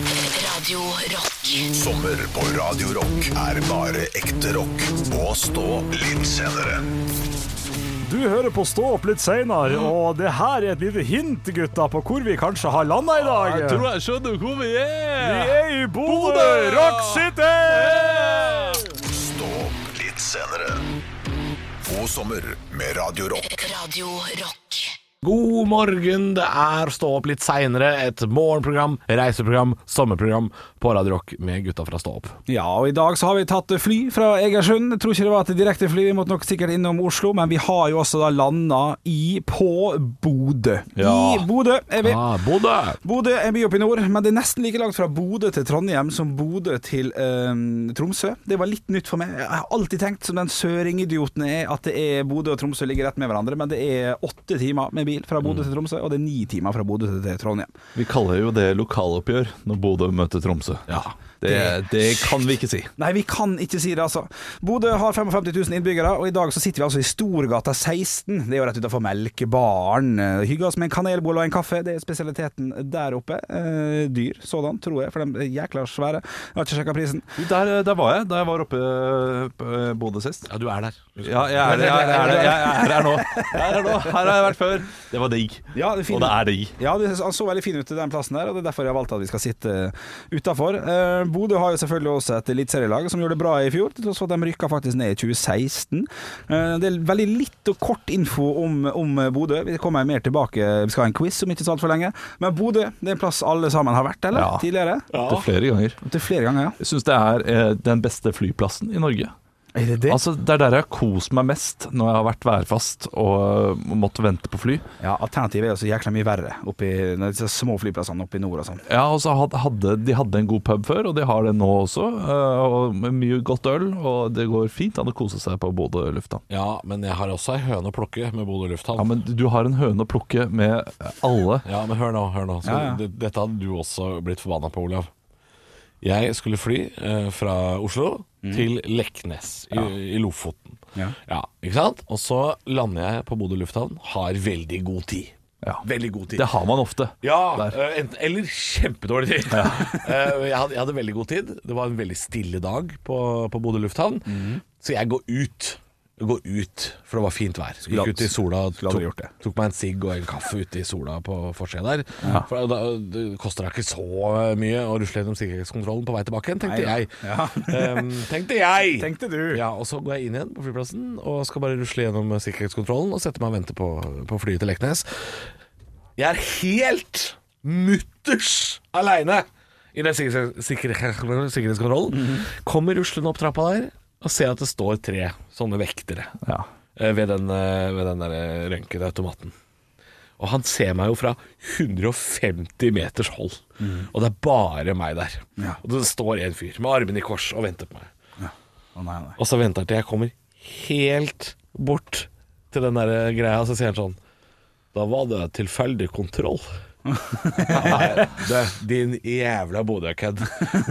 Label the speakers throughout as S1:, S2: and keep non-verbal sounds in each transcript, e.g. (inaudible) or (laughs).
S1: Radio Rock.
S2: Sommer på Radio Rock er bare ekte rock. Og stå litt senere.
S3: Du hører på Stå opp litt seinere, og det her er et lite hint gutta, på hvor vi kanskje har landa i dag.
S4: Jeg tror jeg skjønner hvor vi
S3: Vi
S4: er!
S3: er i Bodø!
S4: Bodø!
S3: Rock City!
S2: Stå opp litt senere. God sommer med Radio Rock.
S1: Radio Rock.
S4: God morgen, det er Stå opp litt seinere. Et morgenprogram, reiseprogram, sommerprogram på Radio Rock med gutta fra Stå opp.
S5: Ja, og i dag så har vi tatt fly fra Egersund. Jeg tror ikke det var et direktefly, vi måtte nok sikkert innom Oslo, men vi har jo også da landa i på Bodø.
S4: Ja.
S5: I Bodø er vi.
S4: Ah, Bodø!
S5: Bodø er en by oppe i nord, men det er nesten like langt fra Bodø til Trondheim som Bodø til eh, Tromsø. Det var litt nytt for meg. Jeg har alltid tenkt, som den søringidioten jeg er, at det er Bodø og Tromsø ligger rett med hverandre, men det er åtte timer med bil fra
S4: Mm.
S5: Bodø til Tromsø, og det er ni timer fra Bodø til Trondheim.
S6: Vi kaller jo det lokaloppgjør når Bodø møter Tromsø. Det, det kan vi ikke si.
S5: Nei, vi kan ikke si det, altså. Bodø har 55 000 innbyggere, og i dag så sitter vi altså i Storgata 16. Det er jo rett utenfor Melkebaren. Eh, Hygger oss med en kanelbolle og en kaffe, det er spesialiteten der oppe. Eh, dyr sådan, tror jeg, for de er jækla svære. Jeg har ikke sjekka prisen.
S6: Der, der var jeg da jeg var oppe øh, på, øh, Bodø sist.
S4: Ja, du er der.
S6: Ja, jeg er det. Jeg er, det, jeg er her nå. (laughs) Jeg er her nå. Her har jeg vært før. Det var digg.
S5: Ja, det er fin.
S6: Og det er digg.
S5: Ja, det han så veldig fin ut i den plassen der, og det er derfor jeg valgte at vi skal sitte utafor. Eh, Bodø har jo selvfølgelig også et eliteserielag som gjorde det bra i fjor, til tross for at de rykka faktisk ned i 2016. Eh, det er veldig litt og kort info om, om Bodø. Vi kommer mer tilbake, vi skal ha en quiz om ikke så altfor lenge. Men Bodø det er en plass alle sammen har vært, eller?
S6: Ja.
S5: Tidligere?
S6: Opptil flere ganger.
S5: Opptil flere ganger, ja.
S6: Jeg syns det er eh, den beste flyplassen i Norge.
S5: Er det det?
S6: Altså, Det er der jeg har kost meg mest når jeg har vært værfast og øh, måtte vente på fly.
S5: ja, alternativet er jo så jækla mye verre oppi disse små flyplassene oppe i nord og sånn.
S6: Ja, og så had- hadde, De hadde en god pub før, og de har det nå også. øh, Og med mye godt øl, og det går fint an å kose seg på Bodø lufthavn.
S4: Ja, men jeg har også ei høne å plukke med Bodø lufthavn.
S6: Ja, men du har en høne å plukke med alle.
S4: Ja, men hør nå, hør nå. Skal,
S5: Ja, ja.
S4: det- Dette hadde du også blitt forbanna på, Olav. Jeg skulle fly eh, fra Oslo til Leknes i, i Lofoten.
S5: Ja.
S4: ikke sant? Og så lander jeg på Bodø lufthavn, har veldig god tid.
S6: Ja.
S4: Veldig god tid.
S6: Det har man ofte.
S4: Ja,
S6: Der.
S4: eh, enten, eller kjempedårlig tid. (laughs) Eh, jeg, hadde, jeg hadde veldig god tid. Det var en veldig stille dag på, på Bodø lufthavn.
S5: Mhm.
S4: Så jeg går ut. Jeg går ut, for det var fint vær.
S5: Skulle
S4: Gikk ut i sola,
S5: aldri gjort
S4: tok,
S5: det.
S4: tok meg en sigg og en kaffe ute i sola på forsida der. For da, det koster da ikke så mye å rusle gjennom sikkerhetskontrollen på vei tilbake igjen, tenkte
S5: Nei,
S4: jeg.
S5: ja.
S4: Em, tenkte jeg!
S5: Tenkte du.
S4: Ja, og så går jeg inn igjen på flyplassen og skal bare rusle gjennom sikkerhetskontrollen og sette meg og vente på, på flyet til Leknes. Jeg er helt mutters aleine i den sikker- sikker- sikkerhetskontrollen. Kommer ruslende opp trappa der og ser at det står tre sånne vektere
S6: Ja.
S4: eh, ved den, eh, ved den der eh, røntgede automaten. Og han ser meg jo fra 150 meters hold, og det er bare meg der.
S5: Ja.
S4: Og det står en fyr med armene i kors og venter på meg.
S5: Å nei, nei.
S4: Og så venter han til jeg kommer helt bort til den der greia, og så sier han sånn Da var det tilfeldig kontroll.
S5: (laughs)
S4: Nei, det, din jævla Bodø-kødd.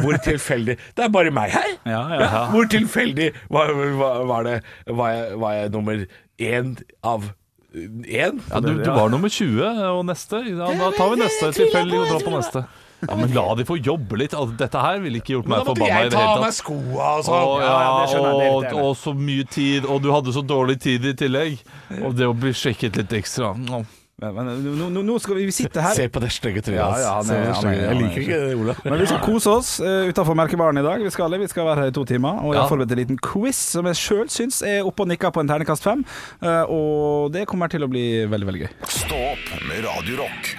S4: Hvor tilfeldig Det er bare meg her!
S5: Ja, ja.
S4: Hvor tilfeldig var, var, var det var jeg, var jeg nummer én av én?
S6: Ja, du, du var nummer 20, og neste ja, Da tar vi neste. Tilfeldig å dra på neste. Ja, Men la de få jobbe litt. Altså, dette her ville ikke gjort
S4: Men
S6: meg
S4: da måtte
S6: forbanna i
S4: jeg
S6: det
S4: ta av
S6: hele
S4: meg
S6: tatt.
S4: skoa og
S6: Å,
S4: sånn.
S6: ja,
S5: Ja, ja, det skjønner jeg,
S6: og,
S5: det er det.
S6: og så mye tid, og du hadde så dårlig tid i tillegg. Og det å bli sjekket litt ekstra Nå.
S5: Men, men nå, nå, nå skal vi, vi sitte her
S4: Se på det stygge trynet
S5: Ja,
S4: hans.
S5: ja, han
S4: Se på
S5: er-
S4: det
S5: han
S4: stygge-
S5: er-
S4: Jeg
S5: han er
S4: liker ikke det, Olav.
S5: Men vi skal kose oss uh, utafor Merkebaren i dag. Vi skal, vi skal være her i to timer. Og jeg har
S6: Ja.
S5: forberedt en liten quiz som jeg sjøl syns er oppe og nikker på en ternekast fem. eh, og det kommer til å bli veldig, veldig gøy.
S2: Stå opp med Radio Rock.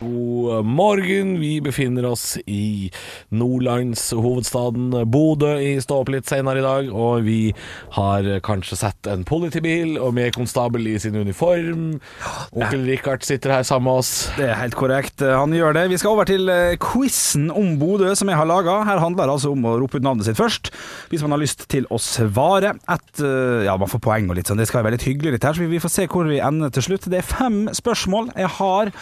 S4: God morgen. Vi befinner oss i Nordlandshovedstaden Bodø i Stå opp litt senere i dag. Og vi har kanskje sett en politibil og med konstabel i sin uniform. Onkel Richard sitter her sammen med oss.
S5: Det er helt korrekt. eh, Han gjør det. Vi skal over til eh, quizen om Bodø som jeg har laga. Her handler det altså om å rope ut navnet sitt først, hvis man har lyst til å svare. Et, eh, ja, man får poeng og litt sånn. Det skal være litt hyggelig litt her, så vi- vi får se hvor vi ender til slutt. Det er fem spørsmål. Jeg har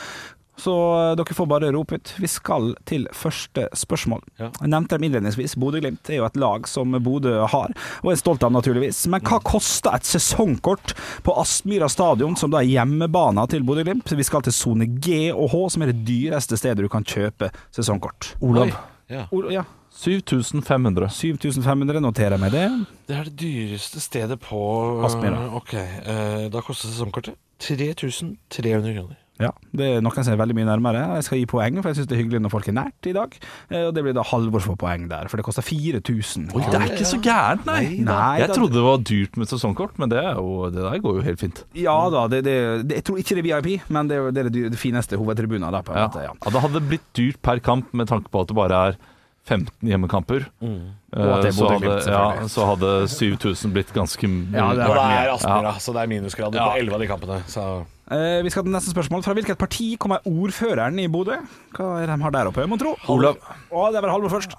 S5: Så eh, dere får bare rope ut. Vi skal til første spørsmål.
S4: Ja.
S5: Jeg nevnte dem innledningsvis. Bodø-Glimt er jo et lag som Bodø har, og er stolt av, naturligvis. Men hva koster et sesongkort på Aspmyra stadion, som da er hjemmebana til Bodø-Glimt? Vi skal til sone G og H, som er det dyreste stedet du kan kjøpe sesongkort.
S6: Olav.
S4: Ja.
S5: Ol- ja.
S6: 7500.
S5: 7500, noterer jeg meg det.
S4: Det er det dyreste stedet på
S5: Aspmyra.
S4: Ok, eh, Da koster sesongkortet 3300 kroner.
S5: Ja, det er noen som er veldig mye nærmere. Jeg skal gi poeng, for jeg syns det er hyggelig når folk er nært i dag. Eh, Og det blir da Halvor som får poeng der, for det koster 4000.
S6: Oi, det er ikke så gærent, nei.
S5: Nei,
S6: jeg
S5: da-
S6: trodde det var dyrt med sesongkort, men det, er jo, det der går jo helt fint.
S5: Ja da, det, det, det, jeg tror ikke det er VIP, men det er jo- det, er det, dy- det fineste hovedtribunen da, på en
S6: Ja.
S5: måte. Ja.
S6: Ja, det hadde blitt dyrt per kamp med tanke på at det bare er 15 hjemmekamper. Eh,
S5: Mm. Og at det er
S6: så, hadde,
S5: Bodø-Glimt, selvfølgelig.
S6: ja, så hadde 7000 blitt ganske mye.
S5: Ja, det
S4: Og
S5: er-
S4: det er
S5: mye.
S4: Aspmyra, så det er minusgrader
S6: Ja.
S4: på 11 av de kampene. Så
S5: Eh, vi skal til neste spørsmål. Fra hvilket parti kommer ordføreren i Bodø? Hva er det de har der oppe, mon tro?
S6: Olav.
S5: Å, det er vel Halvor først.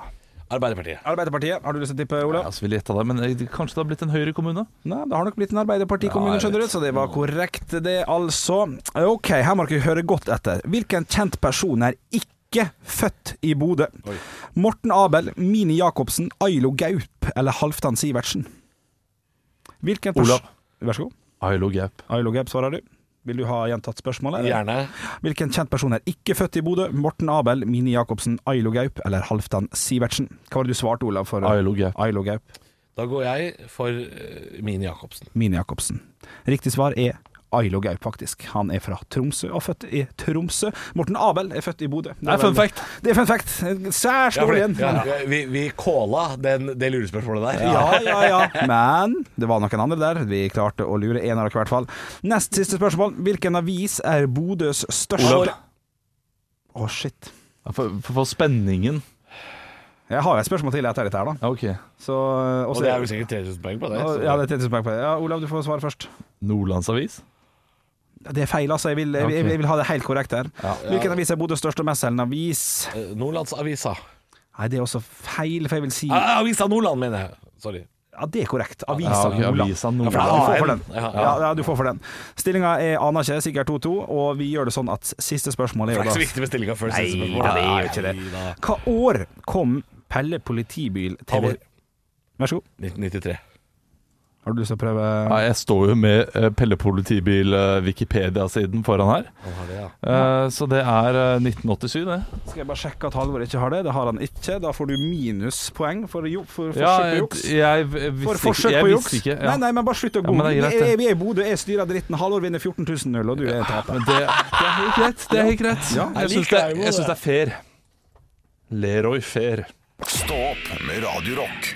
S4: Arbeiderpartiet.
S5: Arbeiderpartiet, har du lyst til å tippe, Olav?
S6: Jeg ville gjette det, men eh, kanskje det har blitt en høyere kommune?
S5: Nei, det har nok blitt en arbeiderpartikommune,
S6: Ja, jeg
S5: skjønner du,
S6: vet.
S5: så det var korrekt det, altså. Ok, her må dere høre godt etter. Hvilken kjent person er ikke født i Bodø? Morten Abel, Mini Jacobsen, Ailo Gaup eller Halvdan Sivertsen? Hvilken pers-
S6: Olav.
S5: Vær så god.
S6: Ailo Gap.
S5: Ailo Gaup svarer du. Vil du ha gjentatt spørsmålet? eller?
S4: Gjerne.
S5: Hvilken kjent person er ikke født i Bodø? Morten Abel, Mini Jacobsen, Ailo Gaup eller Halvdan Sivertsen? Hva var det du svarte, Olav, for eh?
S6: Ailo Gap.
S5: Ailo Gaup?
S4: Da går jeg for eh, Mini Jacobsen.
S5: Mini Jacobsen. Riktig svar er Ailo Gaup, faktisk. Han er fra Tromsø og født i Tromsø. Morten Abel er født i Bodø. Det
S6: Nei, fun
S5: vel-
S6: fact.
S5: Det er fun fact. Særs
S4: Ja, for
S5: dårlig
S4: det-
S5: en.
S4: ja,
S5: Ja.
S4: vi, vi kåla den, det lurespørsmålet der.
S5: ja, ja, (laughs) Men det var noen andre der. Vi klarte å lure en av dere, i hvert fall. Nest siste spørsmål. Hvilken avis er Bodøs største
S6: Olav.
S5: Å, shit.
S6: Ja, For, for, for spenningen.
S5: Jeg har jo et spørsmål til etter dette her, da.
S6: Ja, ok.
S5: Så, eh,
S4: Og det er vel sikkert 3000 poeng på det. så-
S5: ja, det er 30 poeng på det. Ja, Olav, du får svare først.
S6: Nordlandsavis?
S5: Det er feil, altså. Jeg vil, jeg, jeg, jeg vil ha det helt korrekt her. Hvilken avis er Bodøs største og mestselgende avis?
S4: Eh, Nordlandsavisa.
S5: Nei, det er også feil, for jeg vil si
S4: Ah, Avisa Nordland, mener jeg. Sorry.
S5: Ja, det er korrekt. Avisa
S6: Ja, ok,
S5: Nordland.
S6: Avisa
S5: Ja, for
S6: Nordland.
S5: du får for
S4: Ja,
S5: den.
S4: ja,
S5: Ja, ja, du får for den. Stillinga er aner ikke, sikkert 2-2, og vi gjør det sånn at siste spørsmål
S4: Det
S5: er
S4: er
S5: jo
S4: ikke så
S5: da
S4: viktig med stillinga før
S5: Nei,
S4: siste
S5: ja,
S4: spørsmål.
S5: det er jo ikke det.
S4: Nei,
S5: Hva år kom Pelle politibil til
S4: Halvor.
S5: Vær så god.
S4: da. 1993.
S5: Har du lyst til å prøve
S6: Ja, jeg står jo med eh, Pelle Politibil-Wikipedia-siden foran her.
S4: Han har det, ja.
S6: Eh, Så det er eh, 1987, det.
S5: Skal jeg bare sjekke at Halvor ikke har det? Det har han ikke. Da får du minuspoeng for, jo- for forsøk
S6: Ja,
S5: på
S6: jeg,
S5: juks.
S6: jeg, jeg
S5: For
S6: visste ikke.
S5: forsøk
S6: Jeg
S5: på juks.
S6: visste ikke
S5: Nei,
S6: ja.
S5: nei, men bare slutt å
S6: men
S5: gå.
S6: det er greit,
S5: vi,
S6: det.
S5: er, vi er i Bodø, jeg styrer dritten. Halvor vinner 14.000-0, og du er taper.
S6: Men det, det er helt greit. Det er helt greit.
S5: Ja,
S6: jeg syns det, jeg synes det er fair. Leroy fair.
S2: Stå opp med Radio Rock.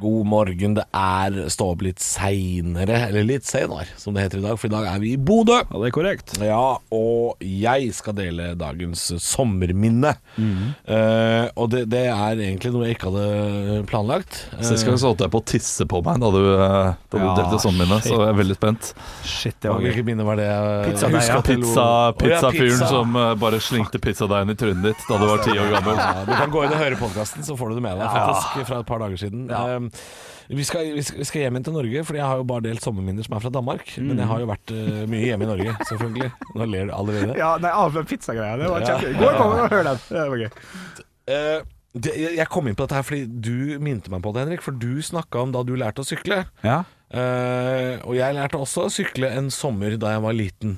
S4: God morgen, det er stå opp litt seinere, eller litt senere, som det heter i dag, for i dag er vi i Bodø.
S5: Ja, det er korrekt.
S4: Ja, og jeg skal dele dagens sommerminne. Eh, og det, det er egentlig noe jeg ikke hadde planlagt.
S6: Sist gang så holdt jeg på å tisse på meg da du, eh, da du
S5: Ja,
S6: delte sånn mine, så jeg er veldig spent.
S5: Shit, det
S4: Eh,
S5: var gøy.
S4: Hvilket minne var det?
S5: Pizza
S4: Jeg
S5: deg,
S4: husker
S5: ja.
S4: at det lo-
S6: Pizza-
S4: Å, ja,
S6: Pizzafyren
S4: pizza.
S6: som eh, bare slengte pizzadeigen i trynet ditt da du var ti år gammel.
S4: Ja, du kan gå inn og høre podkasten, så får du det med deg, faktisk, fra et par dager siden. Um, vi, skal, vi skal- vi skal hjem igjen til Norge, Fordi jeg har jo bare delt sommerminner som er fra Danmark.
S5: Mm.
S4: Men jeg har jo vært eh, mye hjemme i Norge, selvfølgelig. Nå ler du allerede.
S5: Ja, nei,
S3: ah,
S5: avløp pizzagreia. Det var
S4: Ja.
S5: kjempegøy. Gå og kom og hør den. Det var gøy.
S4: Eh, det, jeg jeg kom inn på dette her fordi du minte meg på det, Henrik. For du snakka om da du lærte å sykle.
S5: Ja.
S4: Eh, og jeg lærte også å sykle en sommer da jeg var liten.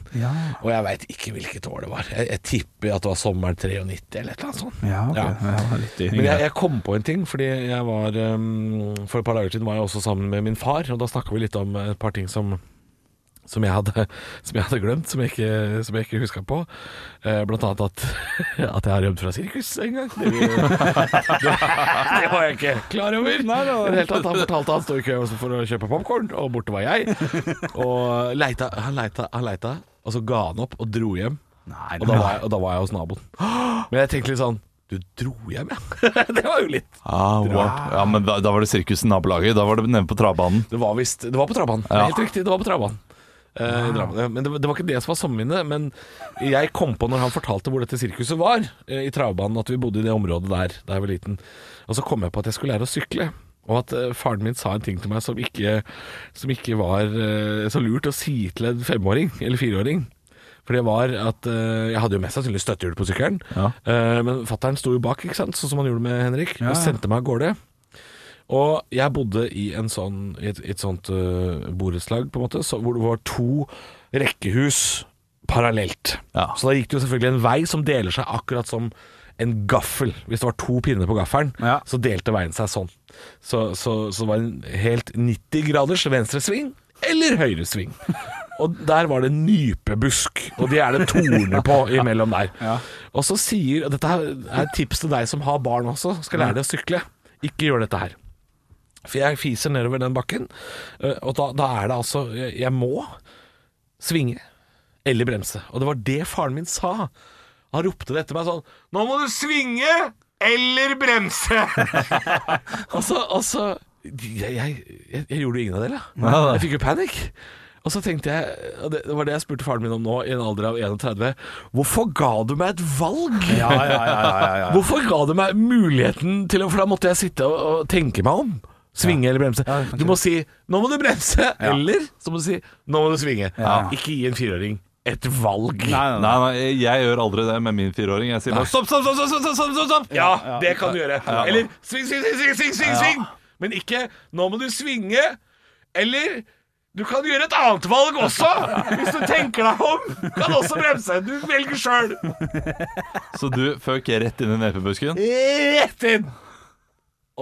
S4: Og jeg veit ikke hvilket år det var. Jeg, jeg tipper at det var sommeren 93 eller et eller annet sånt.
S5: Ja, ok.
S4: Ja.
S5: Ja, litt yngre.
S4: Men jeg, jeg kom på en ting, fordi jeg var ehm, For et par dager siden var jeg også sammen med min far, og da snakka vi litt om et par ting som som jeg, hadde, (laughs) som jeg hadde glemt, som jeg ikke, som jeg ikke huska på. Eh, blant annet at, (laughs) at jeg har rømt fra sirkus en gang. Det, det, (laughs) det var jeg ikke (laughs) klar over. I det hele tatt, han fortalte han sto i kø også for å kjøpe popkorn, og borte var (laughs) jeg. Og leita, han leita, han leita, og så ga han opp og dro hjem.
S5: Nei,
S4: Og da var jeg, og da var jeg hos naboen. Men jeg tenkte litt sånn Du dro hjem, ja? (laughs) det var jo litt
S6: Ah, wow. Ja, men da, da var det sirkus i nabolaget. Da var det nede på travbanen.
S4: Det var visst Det var på Trabanen.
S6: Mm. Ja. Ah.
S4: Helt riktig, det var på Trabanen. Eh, i Drammen. Men det, var- det var ikke det som var sammenlignet. Men jeg kom på når han fortalte hvor dette sirkuset var, eh, i travbanen, at vi bodde i det området der da jeg var liten. Og så kom jeg på at jeg skulle lære å sykle. Og at eh, faren min sa en ting til meg som ikke, som ikke var eh, så lurt å si til en femåring eller fireåring. For det var at eh, Jeg hadde jo mest sannsynlig støttehjul på sykkelen.
S6: Ja.
S4: Eh, men fattern sto jo bak, ikke sant? sånn som han gjorde med Henrik, og sendte meg av gårde. Og jeg bodde i, en sånn, i et, et sånt uh, borettslag, på en måte, så, hvor det var to rekkehus parallelt.
S6: Ja.
S4: Så da gikk det jo selvfølgelig en vei som deler seg akkurat som en gaffel. Hvis det var to pinner på gaffelen,
S5: Ja.
S4: så delte veien seg sånn. Så, så, så var det en helt 90 graders venstresving eller høyresving. Og der var det nypebusk, og de er det torner på imellom der. Og så sier, og dette her er et tips til deg som har barn også, skal lære deg å sykle, ikke gjør dette her. For jeg fiser nedover den bakken, eh, og da, da er det altså Jeg jeg må svinge eller bremse. Og det var det faren min sa. Han ropte det etter meg sånn Nå må du svinge eller
S6: (laughs)
S4: bremse! og så, og så jeg, jeg, jeg, jeg gjorde jo ingen av deler.
S6: Nei.
S4: Jeg fikk jo panikk. Og så tenkte jeg, og det det var det jeg spurte faren min om nå, i en alder av 31, hvorfor ga du meg et valg? (laughs) Hvorfor ga du meg muligheten til å For da måtte jeg sitte og, og tenke meg om. Svinge eller bremse. Du må si 'nå må du bremse', eller så må du si 'nå må du svinge'. Ikke gi en fireåring et valg.
S6: Nei, nei, jeg gjør aldri det med min fireåring. Jeg sier bare stopp, stopp, stopp, stopp, stopp, stopp, stopp, stopp.
S4: Ja, det kan du gjøre. Eller sving, sving, sving, sving, sving, sving, sving. Men ikke 'nå må du svinge', eller du kan gjøre et annet valg også, hvis du tenker deg om. Du kan også bremse. Du velger sjøl.
S6: Så du føk rett inn i nepebusken?
S4: Rett inn!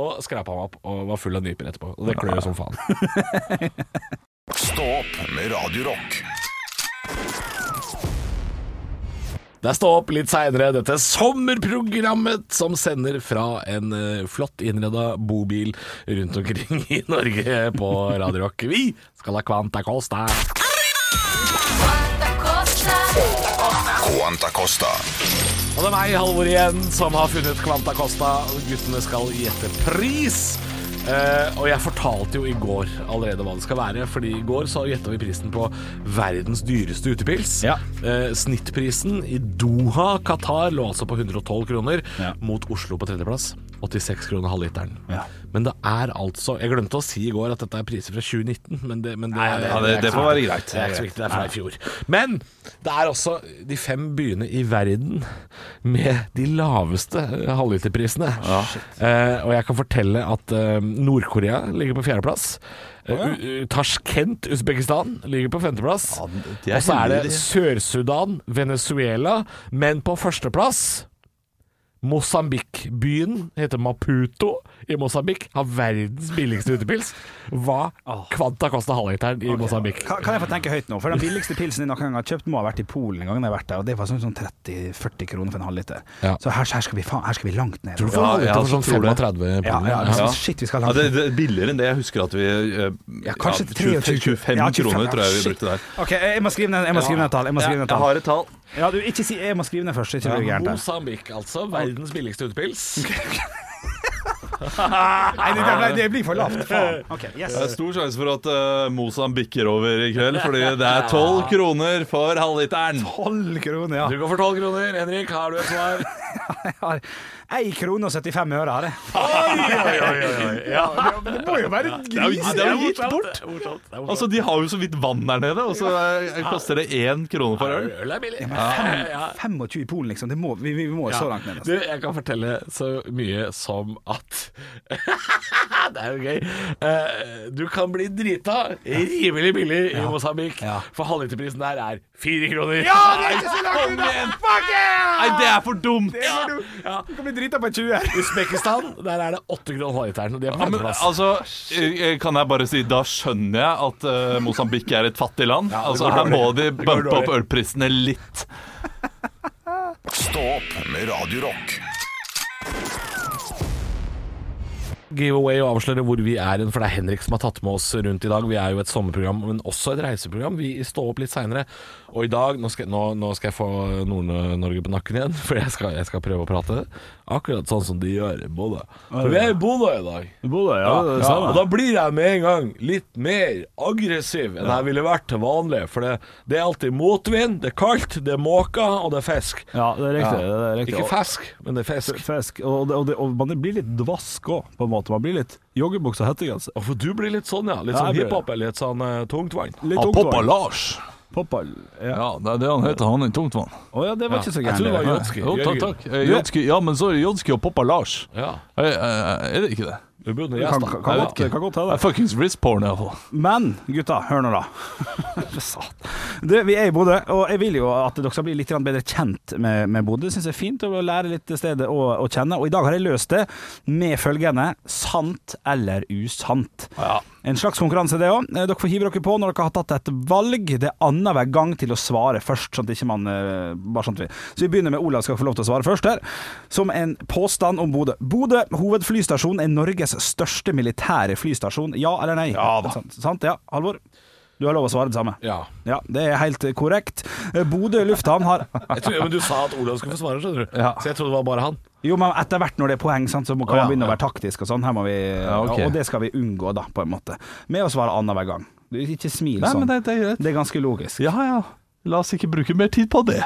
S4: Og skrapa meg opp, og var full av nyper etterpå. Og det klør jo som faen.
S2: Stå opp med Radio Rock.
S4: Det er Stå opp litt seinere, dette sommerprogrammet som sender fra en eh, flott innreda bobil rundt omkring i Norge på Radio Rock. Vi skal ha Quanta Costa.
S2: Quanta Costa.
S4: Og det er meg, Halvor igjen, som har funnet Quanta Costa. Guttene skal gjette pris. Eh, og jeg fortalte jo i går allerede hva det skal være, Fordi i går så gjetta vi prisen på verdens dyreste utepils.
S5: Ja.
S4: Eh, snittprisen i Doha, Qatar, lå altså på 112 kroner,
S5: Ja.
S4: mot Oslo på tredjeplass. 86 kroner halvliteren.
S5: Ja.
S4: Men det er altså Jeg glemte å si i går at dette er priser fra 2019, men det, men det,
S6: ja, det- det får være greit.
S4: Det er ikke så viktig, det er fra i fjor. Men det er også de fem byene i verden med de laveste eh, halvliterprisene. Eh, og jeg kan fortelle at eh, Nord-Korea ligger på fjerdeplass. Eh, U- U- Tashkent, Usbekistan, ligger på femteplass.
S6: de er
S4: og så er
S6: heldige, de.
S4: det Sør-Sudan, Venezuela, men på førsteplass Mosambik-byen heter Maputo i Mosambik. Har verdens billigste utepils. Hva kvanta kosta halvliteren i Mosambik?
S5: Kan, kan jeg få tenke høyt nå? For Den billigste pilsen jeg noen gang har kjøpt, må ha vært i Polen en gang. jeg har vært der Og Det var sånn, sånn 30-40 kroner for en halvliter.
S4: Ja.
S5: Så her, her, skal vi, faen- her skal vi langt ned.
S4: Tror du får
S6: Ja,
S4: halvliter
S6: ja,
S4: for sånn
S6: tror det.
S4: 35
S5: Ja,
S4: kroner?
S5: ja,
S4: Ja.
S5: liksom,
S6: Ja.
S5: shit, vi skal
S6: Ja,
S5: langt
S6: det,
S5: ned.
S6: det er billigere enn det jeg husker at vi eh,
S5: Ja, kanskje
S6: ja,
S5: 23
S6: 25
S5: Ja,
S6: kroner tror jeg vi
S5: shit.
S6: brukte der.
S5: Ok, jeg må skrive ned, jeg må skrive ned et tall. Jeg må skrive ned et
S6: jeg
S5: tall.
S6: har et tall.
S5: Ja, du, ikke si Jeg må skrive ned først. så Ikke blir det gærent her.
S4: Mosambik, altså. Verdens billigste
S6: (laughs)
S4: utepils.
S5: Nei, det, det, ble- det blir for lavt. Faen. Ok, yes.
S6: Det er stor sjanse for at uh, Mosan bikker over i kveld, (laughs) fordi det er 12 kroner for halvliteren.
S5: 12 kroner, ja.
S4: Du går for 12 kroner. Henrik, har du et svar?
S5: Jeg har 1 krone og 75 øre her. jeg.
S4: (laughs)
S5: Det må jo være
S6: Det er jo, det er jo gitt
S4: Det
S6: bort.
S4: er morsomt, det er morsomt.
S6: Altså, De har jo så vidt vann der nede, og så eh, koster det én krone for øl.
S4: Øl er billig. Ja, ja.
S5: 25 i Polen, liksom. Det må, vi, vi må jo så langt
S6: altså.
S5: ned. altså.
S4: Du, jeg kan fortelle så mye som at (laughs) Det er jo gøy. Eh, du kan bli drita rimelig billig i Mosambik, for halvliterprisen der er fire kroner. Ja, det er ikke så langt
S6: Nei, det er for dumt!
S5: Du kan bli drita på 20 her.
S4: Usbekistan, der er det åtte kroner halvliteren. og De er på
S6: Ja, men,
S4: andreplass.
S6: altså, eh, kan jeg bare si Da skjønner jeg at uh, Mosambik er et fattig land. altså, Her må de bumpe opp ølprisene litt.
S2: Stå opp med Radio Rock.
S4: giveaway og avsløre hvor vi er hen, for det er Henrik som har tatt med oss rundt i dag. Vi er jo et sommerprogram, men også et reiseprogram. Vi står opp litt seinere. Og i dag Nå skal, nå, nå skal jeg få Nord-Norge på nakken igjen, (laughs) for jeg skal, jeg skal prøve å prate. Akkurat sånn som de gjør i Bodø. For vi er i Bodø i dag. Ja, og da blir jeg med en gang litt mer aggressiv enn jeg ville vært til vanlig. For det, det er alltid motvind, det er kaldt, det er måker, og det er fisk.
S7: Ja, det er riktig. Det er riktig.
S4: Ikke fisk, men det er fisk.
S7: Fisk. Og, det, og, det, og man blir litt dvask òg, på en
S5: at man blir litt joggebukse og hettegenser.
S4: Og for du blir litt sånn, ja. Litt
S5: Ja,
S4: sånn
S5: jeg blir-
S4: hiphop eller litt sånn eh, tungtvann.
S5: Litt
S6: Han
S5: ungdom.
S6: Poppa Lars.
S5: Poppa. Ja.
S6: Ja, det er det han heter. Han er tungtvann.
S5: Å ja, det var ikke så
S4: Jeg
S5: gærent.
S4: tror det var
S5: det.
S4: Jodski.
S6: Jo, takk, takk. Eh, Jodski, ja, men så er det Jodski og Poppa Lars.
S4: Ja.
S6: Eh, eh, Er det ikke det?
S4: Du burde
S5: Det kan,
S4: gjest,
S5: kan,
S4: da.
S5: godt- det kan godt
S6: Det
S5: hende.
S6: er fuckings wristporn, iallfall.
S5: Men gutta, hør nå, da. Satan. du, vi er i Bodø, og jeg vil jo at dere skal bli litt grann bedre kjent med, med Bodø. Syns det er fint å lære litt stedet å, å kjenne. Og i dag har jeg løst det med følgende sant eller usant. En slags konkurranse, det òg. Dere får hive dere på når dere har tatt et valg. Det er annenhver gang til å svare først, sånn at ikke man eh, bare sånn at vi. Så vi begynner med Olav skal få lov til å svare først her. Som en påstand om Bodø. Bodø hovedflystasjon er Norges største militære flystasjon. Ja eller nei?
S4: Ja da.
S5: Sant, sant ja. Halvor? Du har lov å svare det samme.
S4: Ja.
S5: Ja, det er helt korrekt. Eh, Bodø lufthavn har
S4: Jeg tror, men du sa at Olav skulle få svare, skjønner du.
S6: Ja.
S4: Så jeg trodde det var bare han.
S5: Jo, men etter hvert når det er poeng, sant, så må- kan
S6: Å, ja,
S5: man begynne å
S6: ja.
S5: være taktisk og sånn. Her må vi,
S6: Ja, ok.
S5: Og det skal vi unngå, da, på en måte. Med å svare annenhver gang. Du, Ikke smil
S6: Nei,
S5: sånn.
S6: men det, det er greit.
S5: Det er ganske logisk.
S6: Ja ja, la oss ikke bruke mer tid på det.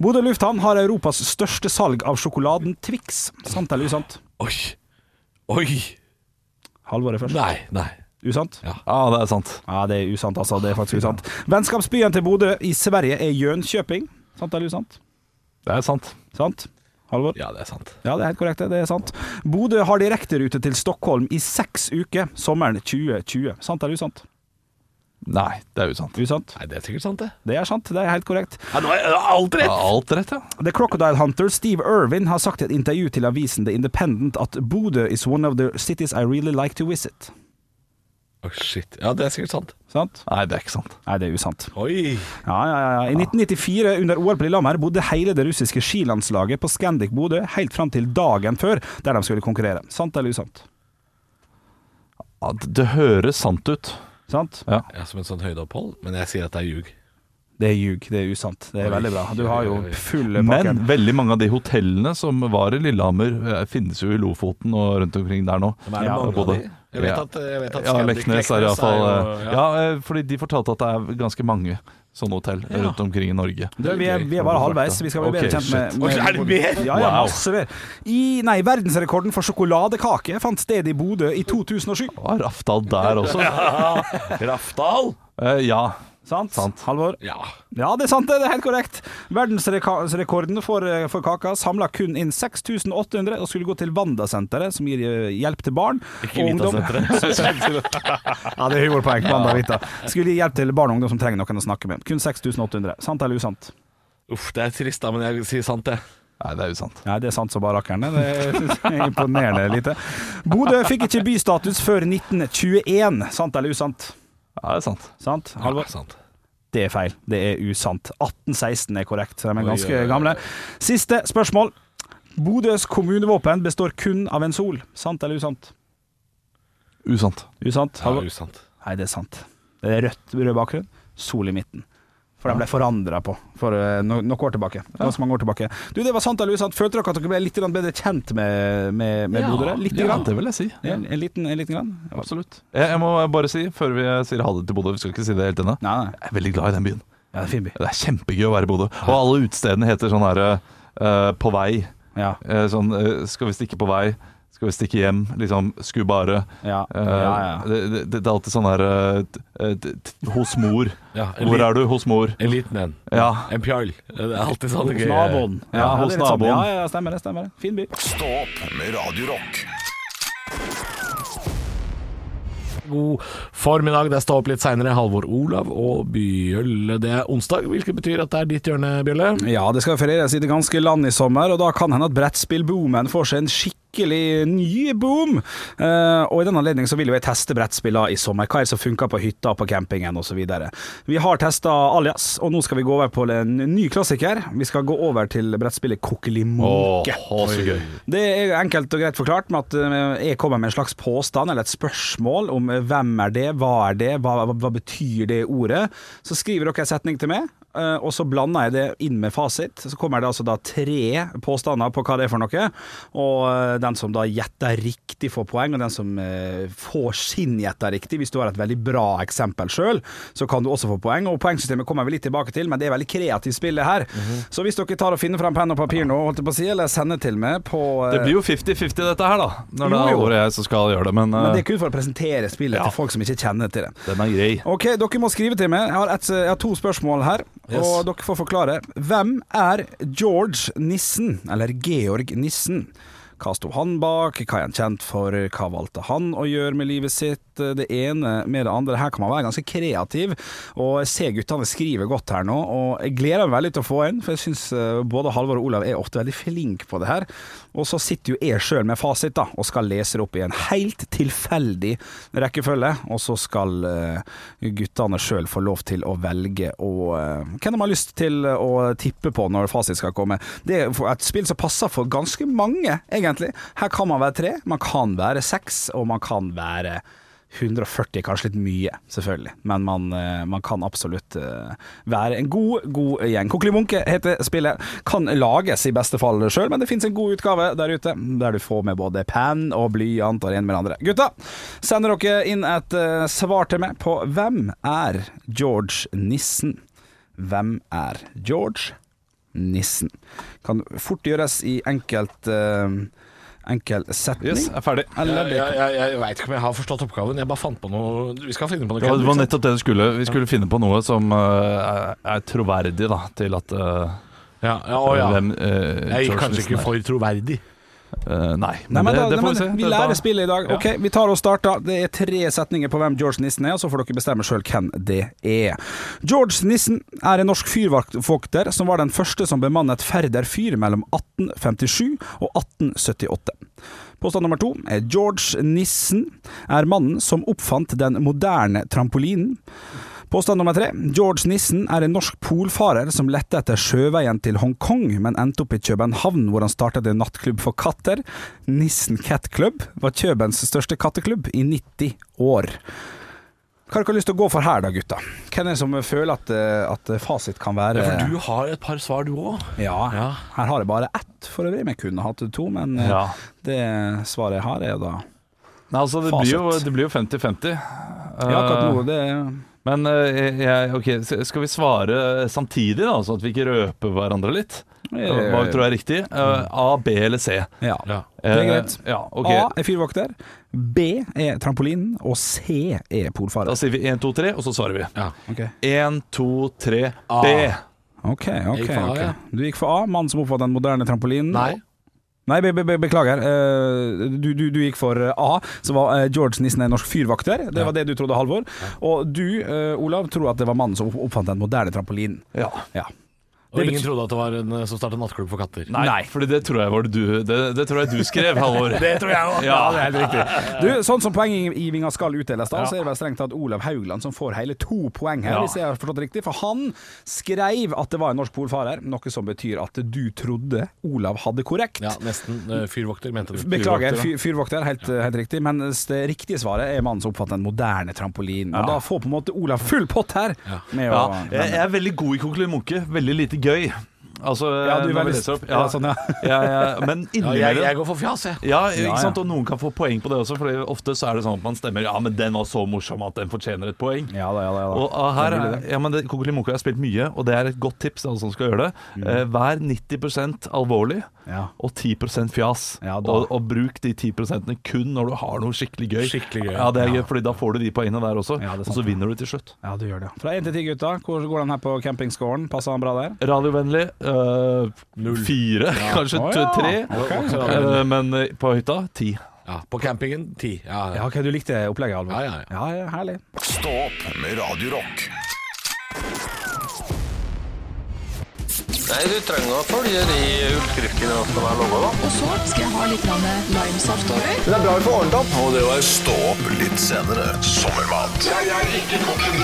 S5: Bodø lufthavn har Europas største salg av sjokoladen Twix. Sant eller usant?
S4: Oi. Oi.
S5: Halvåret først.
S4: Nei, nei.
S5: Usant?
S4: Ja.
S6: Ja, det er sant.
S5: Ja, det er usant, altså. Det er faktisk usant. Vennskapsbyen til Bodø i Sverige er Jönköping. Sant eller usant?
S6: Det er sant.
S5: Sant? Halvor?
S4: Ja, det er sant.
S5: Ja, det er helt korrekt. det. Det er sant. Bodø har direkterute til Stockholm i seks uker sommeren 2020. Sant eller usant?
S6: Nei, det er usant.
S5: Usant.
S4: Nei, det er sikkert sant, det.
S5: Det er sant. Det er helt korrekt.
S4: Ja, nå er alt
S6: Ja,
S4: rett.
S6: alt rett, ja.
S5: The Crocodile Hunter Steve Irwin har sagt i et intervju til avisen The Independent at Bodø is one of the cities I really like to visit.
S4: Å, shit. Ja, det er sikkert sant.
S5: Sant?
S6: Nei, det er ikke sant.
S5: Nei, det er usant.
S4: Oi.
S5: Ja, ja, ja.
S6: Ah.
S5: I 1994, under OL på Lillehammer, bodde hele det russiske skilandslaget på Scandic Bodø helt fram til dagen før, der de skulle konkurrere. Sant eller usant?
S6: Ja, det- det høres sant ut.
S5: Sant?
S4: Ja, som et sånt høydeopphold, men jeg sier at det er ljug.
S5: Det er ljug, det er usant. Det er veldig bra. Du har jo full pakke.
S6: Men veldig mange av de hotellene som var i Lillehammer, eh, finnes jo i Lofoten og rundt omkring der nå.
S4: Men er det
S5: Ja,
S4: mange av
S6: både-
S4: de? Jeg vet
S6: Ja.
S4: at, eh, jeg vet at
S6: Ja,
S4: Scandic
S6: Leknes er iallfall
S4: jo-
S6: ja.
S4: ja.
S6: ja, eh, fordi de fortalte at det er ganske mange sånne hotell rundt omkring i Norge.
S5: Du, vi, er, vi er bare halvveis. Vi skal bli
S6: Ok,
S5: bedre kjent med,
S6: shit.
S5: med
S4: Oi, er det mer?
S5: Ja, ja,
S6: Wow.
S5: masse mer. I, nei, verdensrekorden for sjokoladekake fant sted i Bodø i 2007.
S6: Var Rafdal der også?
S4: Rafdal?
S6: Eh, ja.
S5: Sant?
S6: Sant.
S5: Halvor?
S4: Ja.
S5: Ja, det er sant, det det er helt korrekt. Verdensrekorden for, eh, for kaka samla kun inn 6800 og skulle gå til Wanda-senteret, som gir eh, hjelp til barn
S4: Ikke
S5: og ungdom. (laughs) ja, det er humorpoeng. Wanda Vita. Skulle gi hjelp til barn og ungdom som trenger noen å snakke med. Kun 6800. Sant eller usant?
S4: Uff, det er trist, da, men jeg sier sant, det.
S6: Nei, det er jo sant.
S5: Nei, det er sant som bare rakkerne. Det er (laughs) imponerende lite. Bodø fikk ikke bystatus før 1921. Sant eller usant?
S6: Ja, det er sant.
S5: Sant?
S4: Ja,
S5: Halvor?
S4: sant.
S5: Det er feil. Det er usant. 1816 er korrekt, så de er
S4: Oi,
S5: ganske
S4: oi, oi.
S5: gamle. Siste spørsmål. Bodøs kommunevåpen består kun av en sol. Sant eller usant?
S6: Usant.
S5: Usant.
S4: Ja,
S5: Halvor?
S4: usant.
S5: Nei, det er sant. Det er rødt rød bakgrunn, sol i midten. For de ble forandra på for eh, no, noen år tilbake. Ganske mange år tilbake. Du, det var sant eller usant. Følte dere at dere ble litt grann bedre kjent med, med, med Bodø? da? Litt?
S6: ja,
S5: grann?
S6: det vil jeg si.
S5: En, en, liten, en liten grann?
S6: Absolutt. Jeg, jeg må bare si, før vi sier ha det til Bodø, vi skal ikke si det helt ennå,
S5: Nei, nei.
S6: jeg er veldig glad i den byen.
S5: Ja, det er en fin by.
S6: Det er kjempegøy å være i Bodø. Og alle utestedene heter sånn her eh, På vei.
S5: Ja.
S6: Eh, sånn eh, Skal vi stikke på vei? Skal vi stikke hjem? Liksom Skulle bare.
S5: Ja.
S6: Eh,
S5: ja, ja.
S6: Det, det, det er alltid sånn her eh, t- eh, t- t- Hos mor.
S4: Ja, en
S6: Hvor
S4: liten-
S6: er du? Hos mor.
S4: En liten en.
S6: Ja.
S4: En pjall. Det er alltid sånn
S5: Hos naboen.
S6: Ja, hos
S5: det er litt sånn.
S6: naboen.
S5: Ja, ja, stemmer det. stemmer det. Fin by.
S2: Stå opp med Radio Rock.
S4: God formiddag. Det er Stå opp litt seinere. Halvor Olav og Bjølle. Det er onsdag, hvilket betyr at det er ditt hjørne, Bjølle.
S5: Ja, det skal ferieres i det ganske land i sommer, og da kan hende at brettspillboomen får seg en skikkelig ny boom. Eh, og i den anledning så vil jo jeg teste brettspillene i sommer. Hva er det som funker på hytta, på campingen osv. Vi har testa Alias, og nå skal vi gå over på en ny klassiker. Vi skal gå over til brettspillet Kokkelimonke.
S6: så gøy.
S5: Det er enkelt og greit forklart med at eh, jeg kommer med en slags påstand eller et spørsmål om eh, hvem er det, hva er det, hva, hva, hva betyr det ordet. Så skriver dere en setning til meg, eh, og så blanda jeg det inn med fasit. Så kommer det altså da tre påstander på hva det er for noe, og eh, den som da gjetter riktig får poeng, og den som eh, får sin gjetta riktig, hvis du har et veldig bra eksempel sjøl, så kan du også få poeng. Og poengsystemet kommer vi litt tilbake til, men det er veldig kreativt spill det her.
S6: Mhm.
S5: Så hvis dere tar og finner frem penn og papir nå, holdt jeg på å si, eller sender til meg på eh,
S6: Det blir jo 50-50 dette her, da. Når det
S5: Jo,
S6: er
S5: jo.
S6: alvoret jeg som skal gjøre det. Men,
S5: Men det
S6: eh,
S5: er kun for å presentere spillet til folk som ikke kjenner til det.
S6: den er grei.
S5: Ok, dere må skrive til meg. Jeg har, et, jeg har to spørsmål her, og dere får forklare. Hvem er George Nissen, eller Georg Nissen? Hva sto han bak, hva er han kjent for, hva valgte han å gjøre med livet sitt? Det ene med det andre. Her kan man være ganske kreativ, og jeg ser guttene skrive godt her nå. Og jeg gleder meg veldig til å få en, for jeg syns både Halvor og Olav er ofte veldig flinke på det her. Og så sitter jo jeg sjøl med fasit, da, og skal lese det opp i en helt tilfeldig rekkefølge. Og så skal eh, guttene sjøl få lov til å velge og eh, hvem de har lyst til å tippe på når fasit skal komme. Det er for- et spill som passer for ganske mange, egentlig. Her kan man være tre, man kan være seks, og man kan være 140 kanskje litt mye, selvfølgelig, men man, eh, man kan absolutt eh, være en god, god gjeng. Kokkeli Munke heter spillet. Kan lages i beste fall sjøl, men det fins en god utgave der ute, der du får med både penn og blyant og det ene med det andre. Gutta, sender dere inn et eh, svar til meg på hvem er George Nissen? Hvem er George Nissen? Kan fort gjøres i enkelt eh, Enkel setning.
S6: Yes, er ferdig.
S5: Eller
S4: Jeg,
S5: det
S4: jeg, jeg, jeg veit ikke om jeg har forstått oppgaven. Jeg bare fant på noe Vi skal finne på noe.
S6: Ja, det var
S4: kødd, ikke sant?
S6: nettopp det du skulle. Vi skulle finne på noe som eh, er- er troverdig da, til at eh,
S4: ja, ja, å, ja.
S6: hvem eh,
S4: Jeg
S6: George
S4: gikk kanskje
S6: Nielsen
S4: ikke
S6: er.
S4: for troverdig.
S6: Eh, nei,
S5: Nei, men, da, nei, men, vi,
S6: Dette-
S5: lærer spillet i dag.
S6: Ja.
S5: Ok, Vi tar og starter. Det er tre setninger på hvem George Nissen er, og så får dere bestemme sjøl hvem det er. George Nissen er en norsk fyrvokter som var den første som bemannet Færder fyr mellom 1857 og 1878. Påstand nummer to er George Nissen er mannen som oppfant den moderne trampolinen. Påstand nummer tre. George Nissen er en norsk polfarer som lette etter sjøveien til Hongkong, men endte opp i København, hvor han startet en nattklubb for katter. Nissen Cat Club var Købens største katteklubb i 90 år. Hva har dere lyst til å gå for her da, gutta? Hvem er det som føler at, eh, at fasit kan være
S4: For du har et par svar, du òg.
S5: Ja,
S4: Ja.
S5: her har jeg bare ett for øvrig, men jeg kunne hatt to, men eh,
S6: Ja.
S5: det svaret jeg har er jo da
S6: Nei, altså, det blir jo-
S5: Fasit.
S6: det blir jo 50-50.
S5: Ja, akkurat nå,
S6: Eh,
S5: det
S6: Men eh, jeg, ok, s- skal vi svare samtidig, da, sånn at vi ikke røper hverandre litt?
S5: Eh,
S6: Hva vi tror er riktig? Eh, A, B eller C?
S5: Ja.
S4: Ja.
S5: Det Mm. er
S6: Eh,
S5: greit.
S6: Ja, ok.
S5: A er fyrvokter, B er trampolinen, og C er polfarer.
S6: Da sier vi 1, 2, 3, og så svarer vi.
S5: Ok,
S6: 1, 2, 3,
S4: A.
S6: B.
S5: ok.
S4: Jeg
S5: ok,
S4: gikk for A,
S5: ok.
S4: ja.
S5: Du gikk for A, mannen som oppfattet den moderne trampolinen.
S4: Nei.
S5: Nei, be, be, be, beklager. Eh, Du, du, du gikk for eh, A, som var eh, George Nissen er en norsk fyrvokter. Det var det du trodde, Halvor. Og du, eh, Olav, tror at det var mannen som opp- oppfant den moderne trampolinen.
S6: Ja.
S5: Ja.
S4: Og ingen trodde at det var en eh, som startet nattklubb for katter.
S6: Nei, fordi det tror jeg var det du Det, det tror jeg du skrev, Halvor. det tror jeg òg. Ja.
S5: Ja, det er helt riktig. Du, sånn som poenggivinga skal utdeles, da, så er det vel strengt tatt Olav Haugland som får hele to poeng her,
S6: Ja.
S5: hvis jeg har forstått det riktig. For han skrev at det var en norsk polfarer, noe som betyr at du trodde Olav hadde korrekt.
S4: Ja, nesten. eh, Fyrvokter, mente du.
S5: Beklager,
S4: Fyrvokter, ja.
S5: fyr, fyrvokter, helt, helt riktig. Men det riktige svaret er mannen som oppfatter den moderne trampolinen. Og da får på en måte Olav full pott her. Med å,
S6: Jeg, jeg er veldig god i Kokkeli Munke. Veldig lite gøy. Altså,
S5: Ja, du er
S6: når vi
S5: veldig-
S6: leser opp.
S5: ja, (laughs) sånn, ja.
S6: (laughs) ja, ja, Men
S4: Ja, jeg,
S6: innimellom
S4: jeg går for fjas, jeg.
S6: Ja, ikke sant? Og noen kan få poeng på det også, for ofte så er det sånn at man stemmer Ja, men den var så morsom at den fortjener et poeng.
S5: Ja da, ja da. Ja, da.
S6: Og ah, her er, ja, men det- Kokkeli Munke har spilt mye, og det er et godt tips til alle som skal gjøre det.
S5: Mm.
S6: Eh, Vær 90 alvorlig
S5: Ja.
S6: og 10 fjas.
S5: Ja, da.
S6: og, og bruk de 10 kun når du har noe skikkelig gøy.
S4: Skikkelig gøy.
S6: Ja, det er gøy, fordi da får du de poengene der også,
S5: Ja, det er
S6: og så
S5: sant.
S6: vinner du til slutt.
S5: Ja, du gjør det. Fra én til ti, gutta. Hvor går den her på campingscoren? Passer han bra der?
S6: Radiovennlig øh, fire, (laughs) kanskje
S5: Å, ja.
S6: t- tre.
S4: Også radioen.
S6: Eh, men eh, på hytta ti.
S4: Ja, på campingen ti. Ja, ja.
S5: Ja, ok, Du likte opplegget, Alvor?
S4: Ja, ja, ja.
S5: ja, ja herlig.
S2: Stå opp med Radio Rock.
S7: Nei, du trenger å følge de utskriftene som er lova, da.
S1: Og så skal jeg ha litt grann limesaft over.
S7: Det er bra vi får ordnet opp. Og det var
S2: Stå opp litt senere. Sommermat
S7: Jeg er ikke kokken.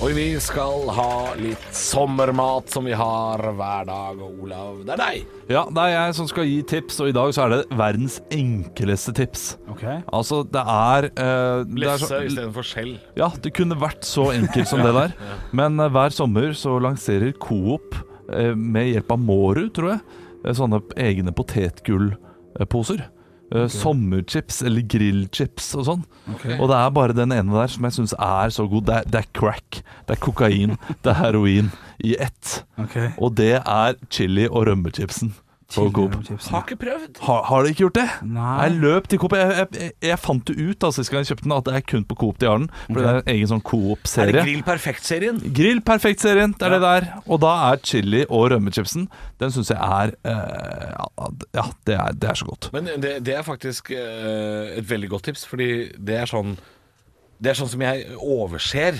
S4: Og vi skal ha litt sommermat som vi har hver dag. Og Olav, det er deg.
S6: Ja, det er jeg som skal gi tips, og i dag så er det verdens enkleste tips.
S5: Ok.
S6: Altså, det er, eh, det er
S4: Lefse
S6: så,
S4: istedenfor skjell.
S6: Ja, det kunne vært så enkelt som det der. Men eh, hver sommer så lanserer Coop eh, med hjelp av Mårud, tror jeg, eh, sånne egne potetgullposer. Eh, Sommerchips eller grillchips og sånn. Og det er bare den ene der som jeg syns er så god. Det er, det er crack, det er kokain, det er heroin i ett.
S5: Ok.
S6: Og det er chili- og rømmechipsen på Coop.
S5: Chipsen.
S4: ikke prøvd.
S6: Har, har de ikke gjort det?
S5: Nei.
S6: Jeg løp til Coop. Jeg, jeg, jeg fant det ut da sist gang jeg kjøpte den, at det er kun på Coop de har den. For det er en egen sånn
S4: Er det
S6: Coop-serie.
S4: Grill Perfekt-serien?
S6: Grill Perfekt-serien, det er det der. Og da er chili og rømmechipsen Den syns jeg er eh, ja, Ja, det er, det er så godt.
S4: Men det, det er faktisk eh, et veldig godt tips, fordi det er sånn Det er sånn som jeg overser.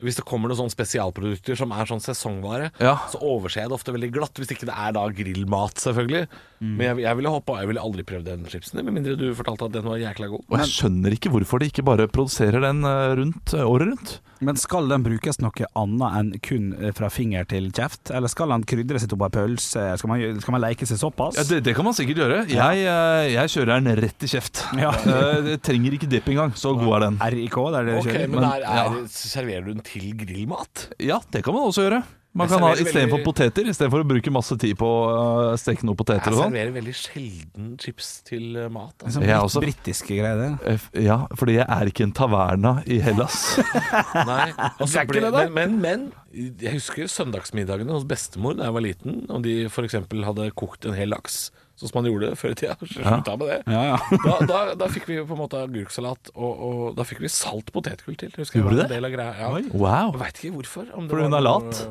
S4: Hvis det kommer noen sånne spesialprodukter som er sånn sesongvare,
S6: Ja.
S4: så overser jeg det ofte veldig glatt. Hvis ikke det er da grillmat, selvfølgelig. Men jeg, jeg ville hoppa, jeg ville aldri prøvd den chipsen, med mindre du fortalte at den var jækla god.
S6: Og jeg skjønner ikke hvorfor de ikke bare produserer den eh, rundt, eh, året rundt.
S5: Men skal den brukes noe annet enn kun eh, fra finger til kjeft? Eller skal den krydres opp av pølse? Skal man, gjø- skal man leke seg såpass?
S6: Ja, det, det kan man sikkert gjøre. Jeg, eh, jeg kjører den rett i kjeft.
S5: Ja.
S6: Eh, det trenger ikke dipp engang. Så god er den.
S5: RIK, det er det de
S4: Ok,
S5: kjører?
S4: Men, der er, serverer du den til grillmat?
S6: Ja, det kan man også gjøre. Man
S4: Jeg
S6: kan ha
S4: serverer
S6: Istedenfor
S4: veldig-
S6: poteter, istedenfor å bruke masse tid på å øh, steke noen poteter
S4: Jeg
S6: og sånn.
S4: serverer veldig sjelden chips til eh, mat. Altså.
S6: (laughs)
S5: En sånn
S6: Jeg
S5: litt
S6: også.
S5: britiske greier, det.
S6: Eh, f- Ja, fordi jeg er ikke en taverna i Hellas.
S4: (laughs) Nei, og så
S5: Det er ikke
S4: ble,
S5: det, da.
S4: men, men, men jeg husker søndagsmiddagene hos bestemor da jeg var liten, om de f.eks. hadde kokt en hel laks, sånn som man gjorde før i (laughs) tida. så Slutta med det.
S5: Ja, ja.
S4: Da, da, da fikk vi på en måte agurksalat, og, og da fikk vi salt potetgull til. Husker jeg
S6: Gjorde
S4: var en
S6: det?
S4: del av greia. Ja.
S6: Wow.
S4: Jeg veit ikke hvorfor. om det
S6: Fordi hun
S4: var
S6: er
S4: noe-
S6: lat?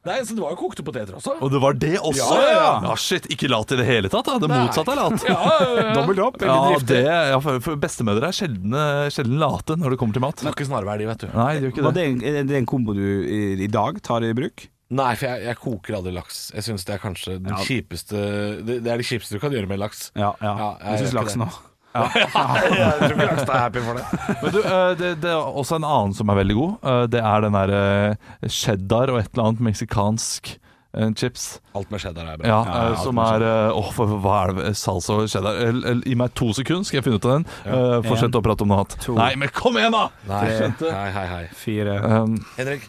S4: Nei, så det var jo kokte poteter også.
S6: Og det var det også? Ah,
S4: Ja, ja, ja.
S6: shit, ikke lat i det hele tatt, da. Det motsatte er lat.
S4: (laughs) Ja, ja,
S6: (laughs)
S4: ja.
S3: Dobbelt opp.
S6: Ja, det, ja, for for bestemødre er sjelden, eh, sjelden late når det kommer til mat.
S4: Må ikke snarveier de, vet du.
S6: Nei, de gjør ikke
S5: Var
S6: det.
S5: det en, er det en kombo du i, i dag tar i bruk?
S4: Nei, for jeg, jeg koker aldri laks. Jeg syns det er kanskje den kjipeste det, det er det kjipeste du kan gjøre med laks.
S5: Ja,
S4: Ja,
S5: ja.
S4: jeg
S5: jeg
S4: gjør
S5: syns
S4: ikke
S5: laksen
S4: det.
S5: òg.
S3: (laughs)
S4: jeg tror ikke laksen er happy for det.
S6: Men du, eh, det, det er også en annen som er veldig god. Eh, Det er den der eh, cheddar og et eller annet meksikansk eh, chips.
S4: Alt med cheddar er bra.
S6: Ja,
S5: Ja,
S6: eh,
S5: alt
S6: som
S5: med
S6: er eh, Åh, hva hva er det Salsa og cheddar El- el- Gi meg to sekunder, skal jeg finne ut av den Eh, Fortsett å prate om noe annet
S5: to.
S6: Nei, men kom igjen da
S4: Nei, hei, hei, hei.
S5: Fire.
S6: um,
S4: Henrik,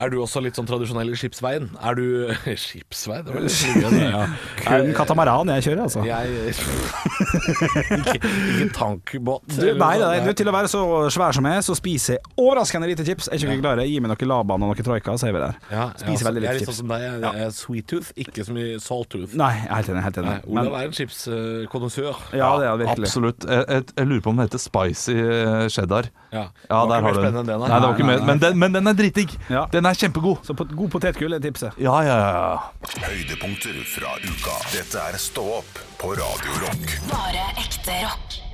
S4: er du også litt sånn tradisjonell i skipsveien? Er du (laughs) Skipsveien? Det var litt sliggende.
S5: Kun katamaran jeg kjører, altså.
S4: Jeg (laughs) ikke, ikke tankbåt.
S5: Du, nei, nei, du, til å være så svær som jeg, så spiser jeg overraskende lite chips. Jeg er ikke glad i det. Gi meg noe Laban og noe Troika, så er vi der.
S4: ja,
S5: Spiser veldig
S4: Jeg er
S5: lite
S4: litt sånn
S5: chips.
S4: som deg. Jeg jeg er sweet tooth, ikke så mye salt tooth.
S5: Nei, jeg er helt enig. Helt enig.
S4: Nei, Olav er en chipskondensør.
S5: Men, ja, det er det virkelig.
S6: Absolutt jeg, jeg, jeg lurer på om den heter spicy eh, cheddar
S4: Ja,
S6: Ja,
S4: Det var
S6: der
S4: ikke mer
S6: har du den
S4: spennende enn det, nei.
S6: Nei, det var ikke
S5: Nei,
S6: mer-
S5: nei,
S6: men, den, men den er dritig
S5: Ja.
S6: Den er kjempegod
S5: Så pot god potetgull er tipset.
S6: Ja, ja, ja ja.
S2: Høydepunkter fra uka. Dette er Stå opp på Radio Rock.
S8: Bare ekte rock.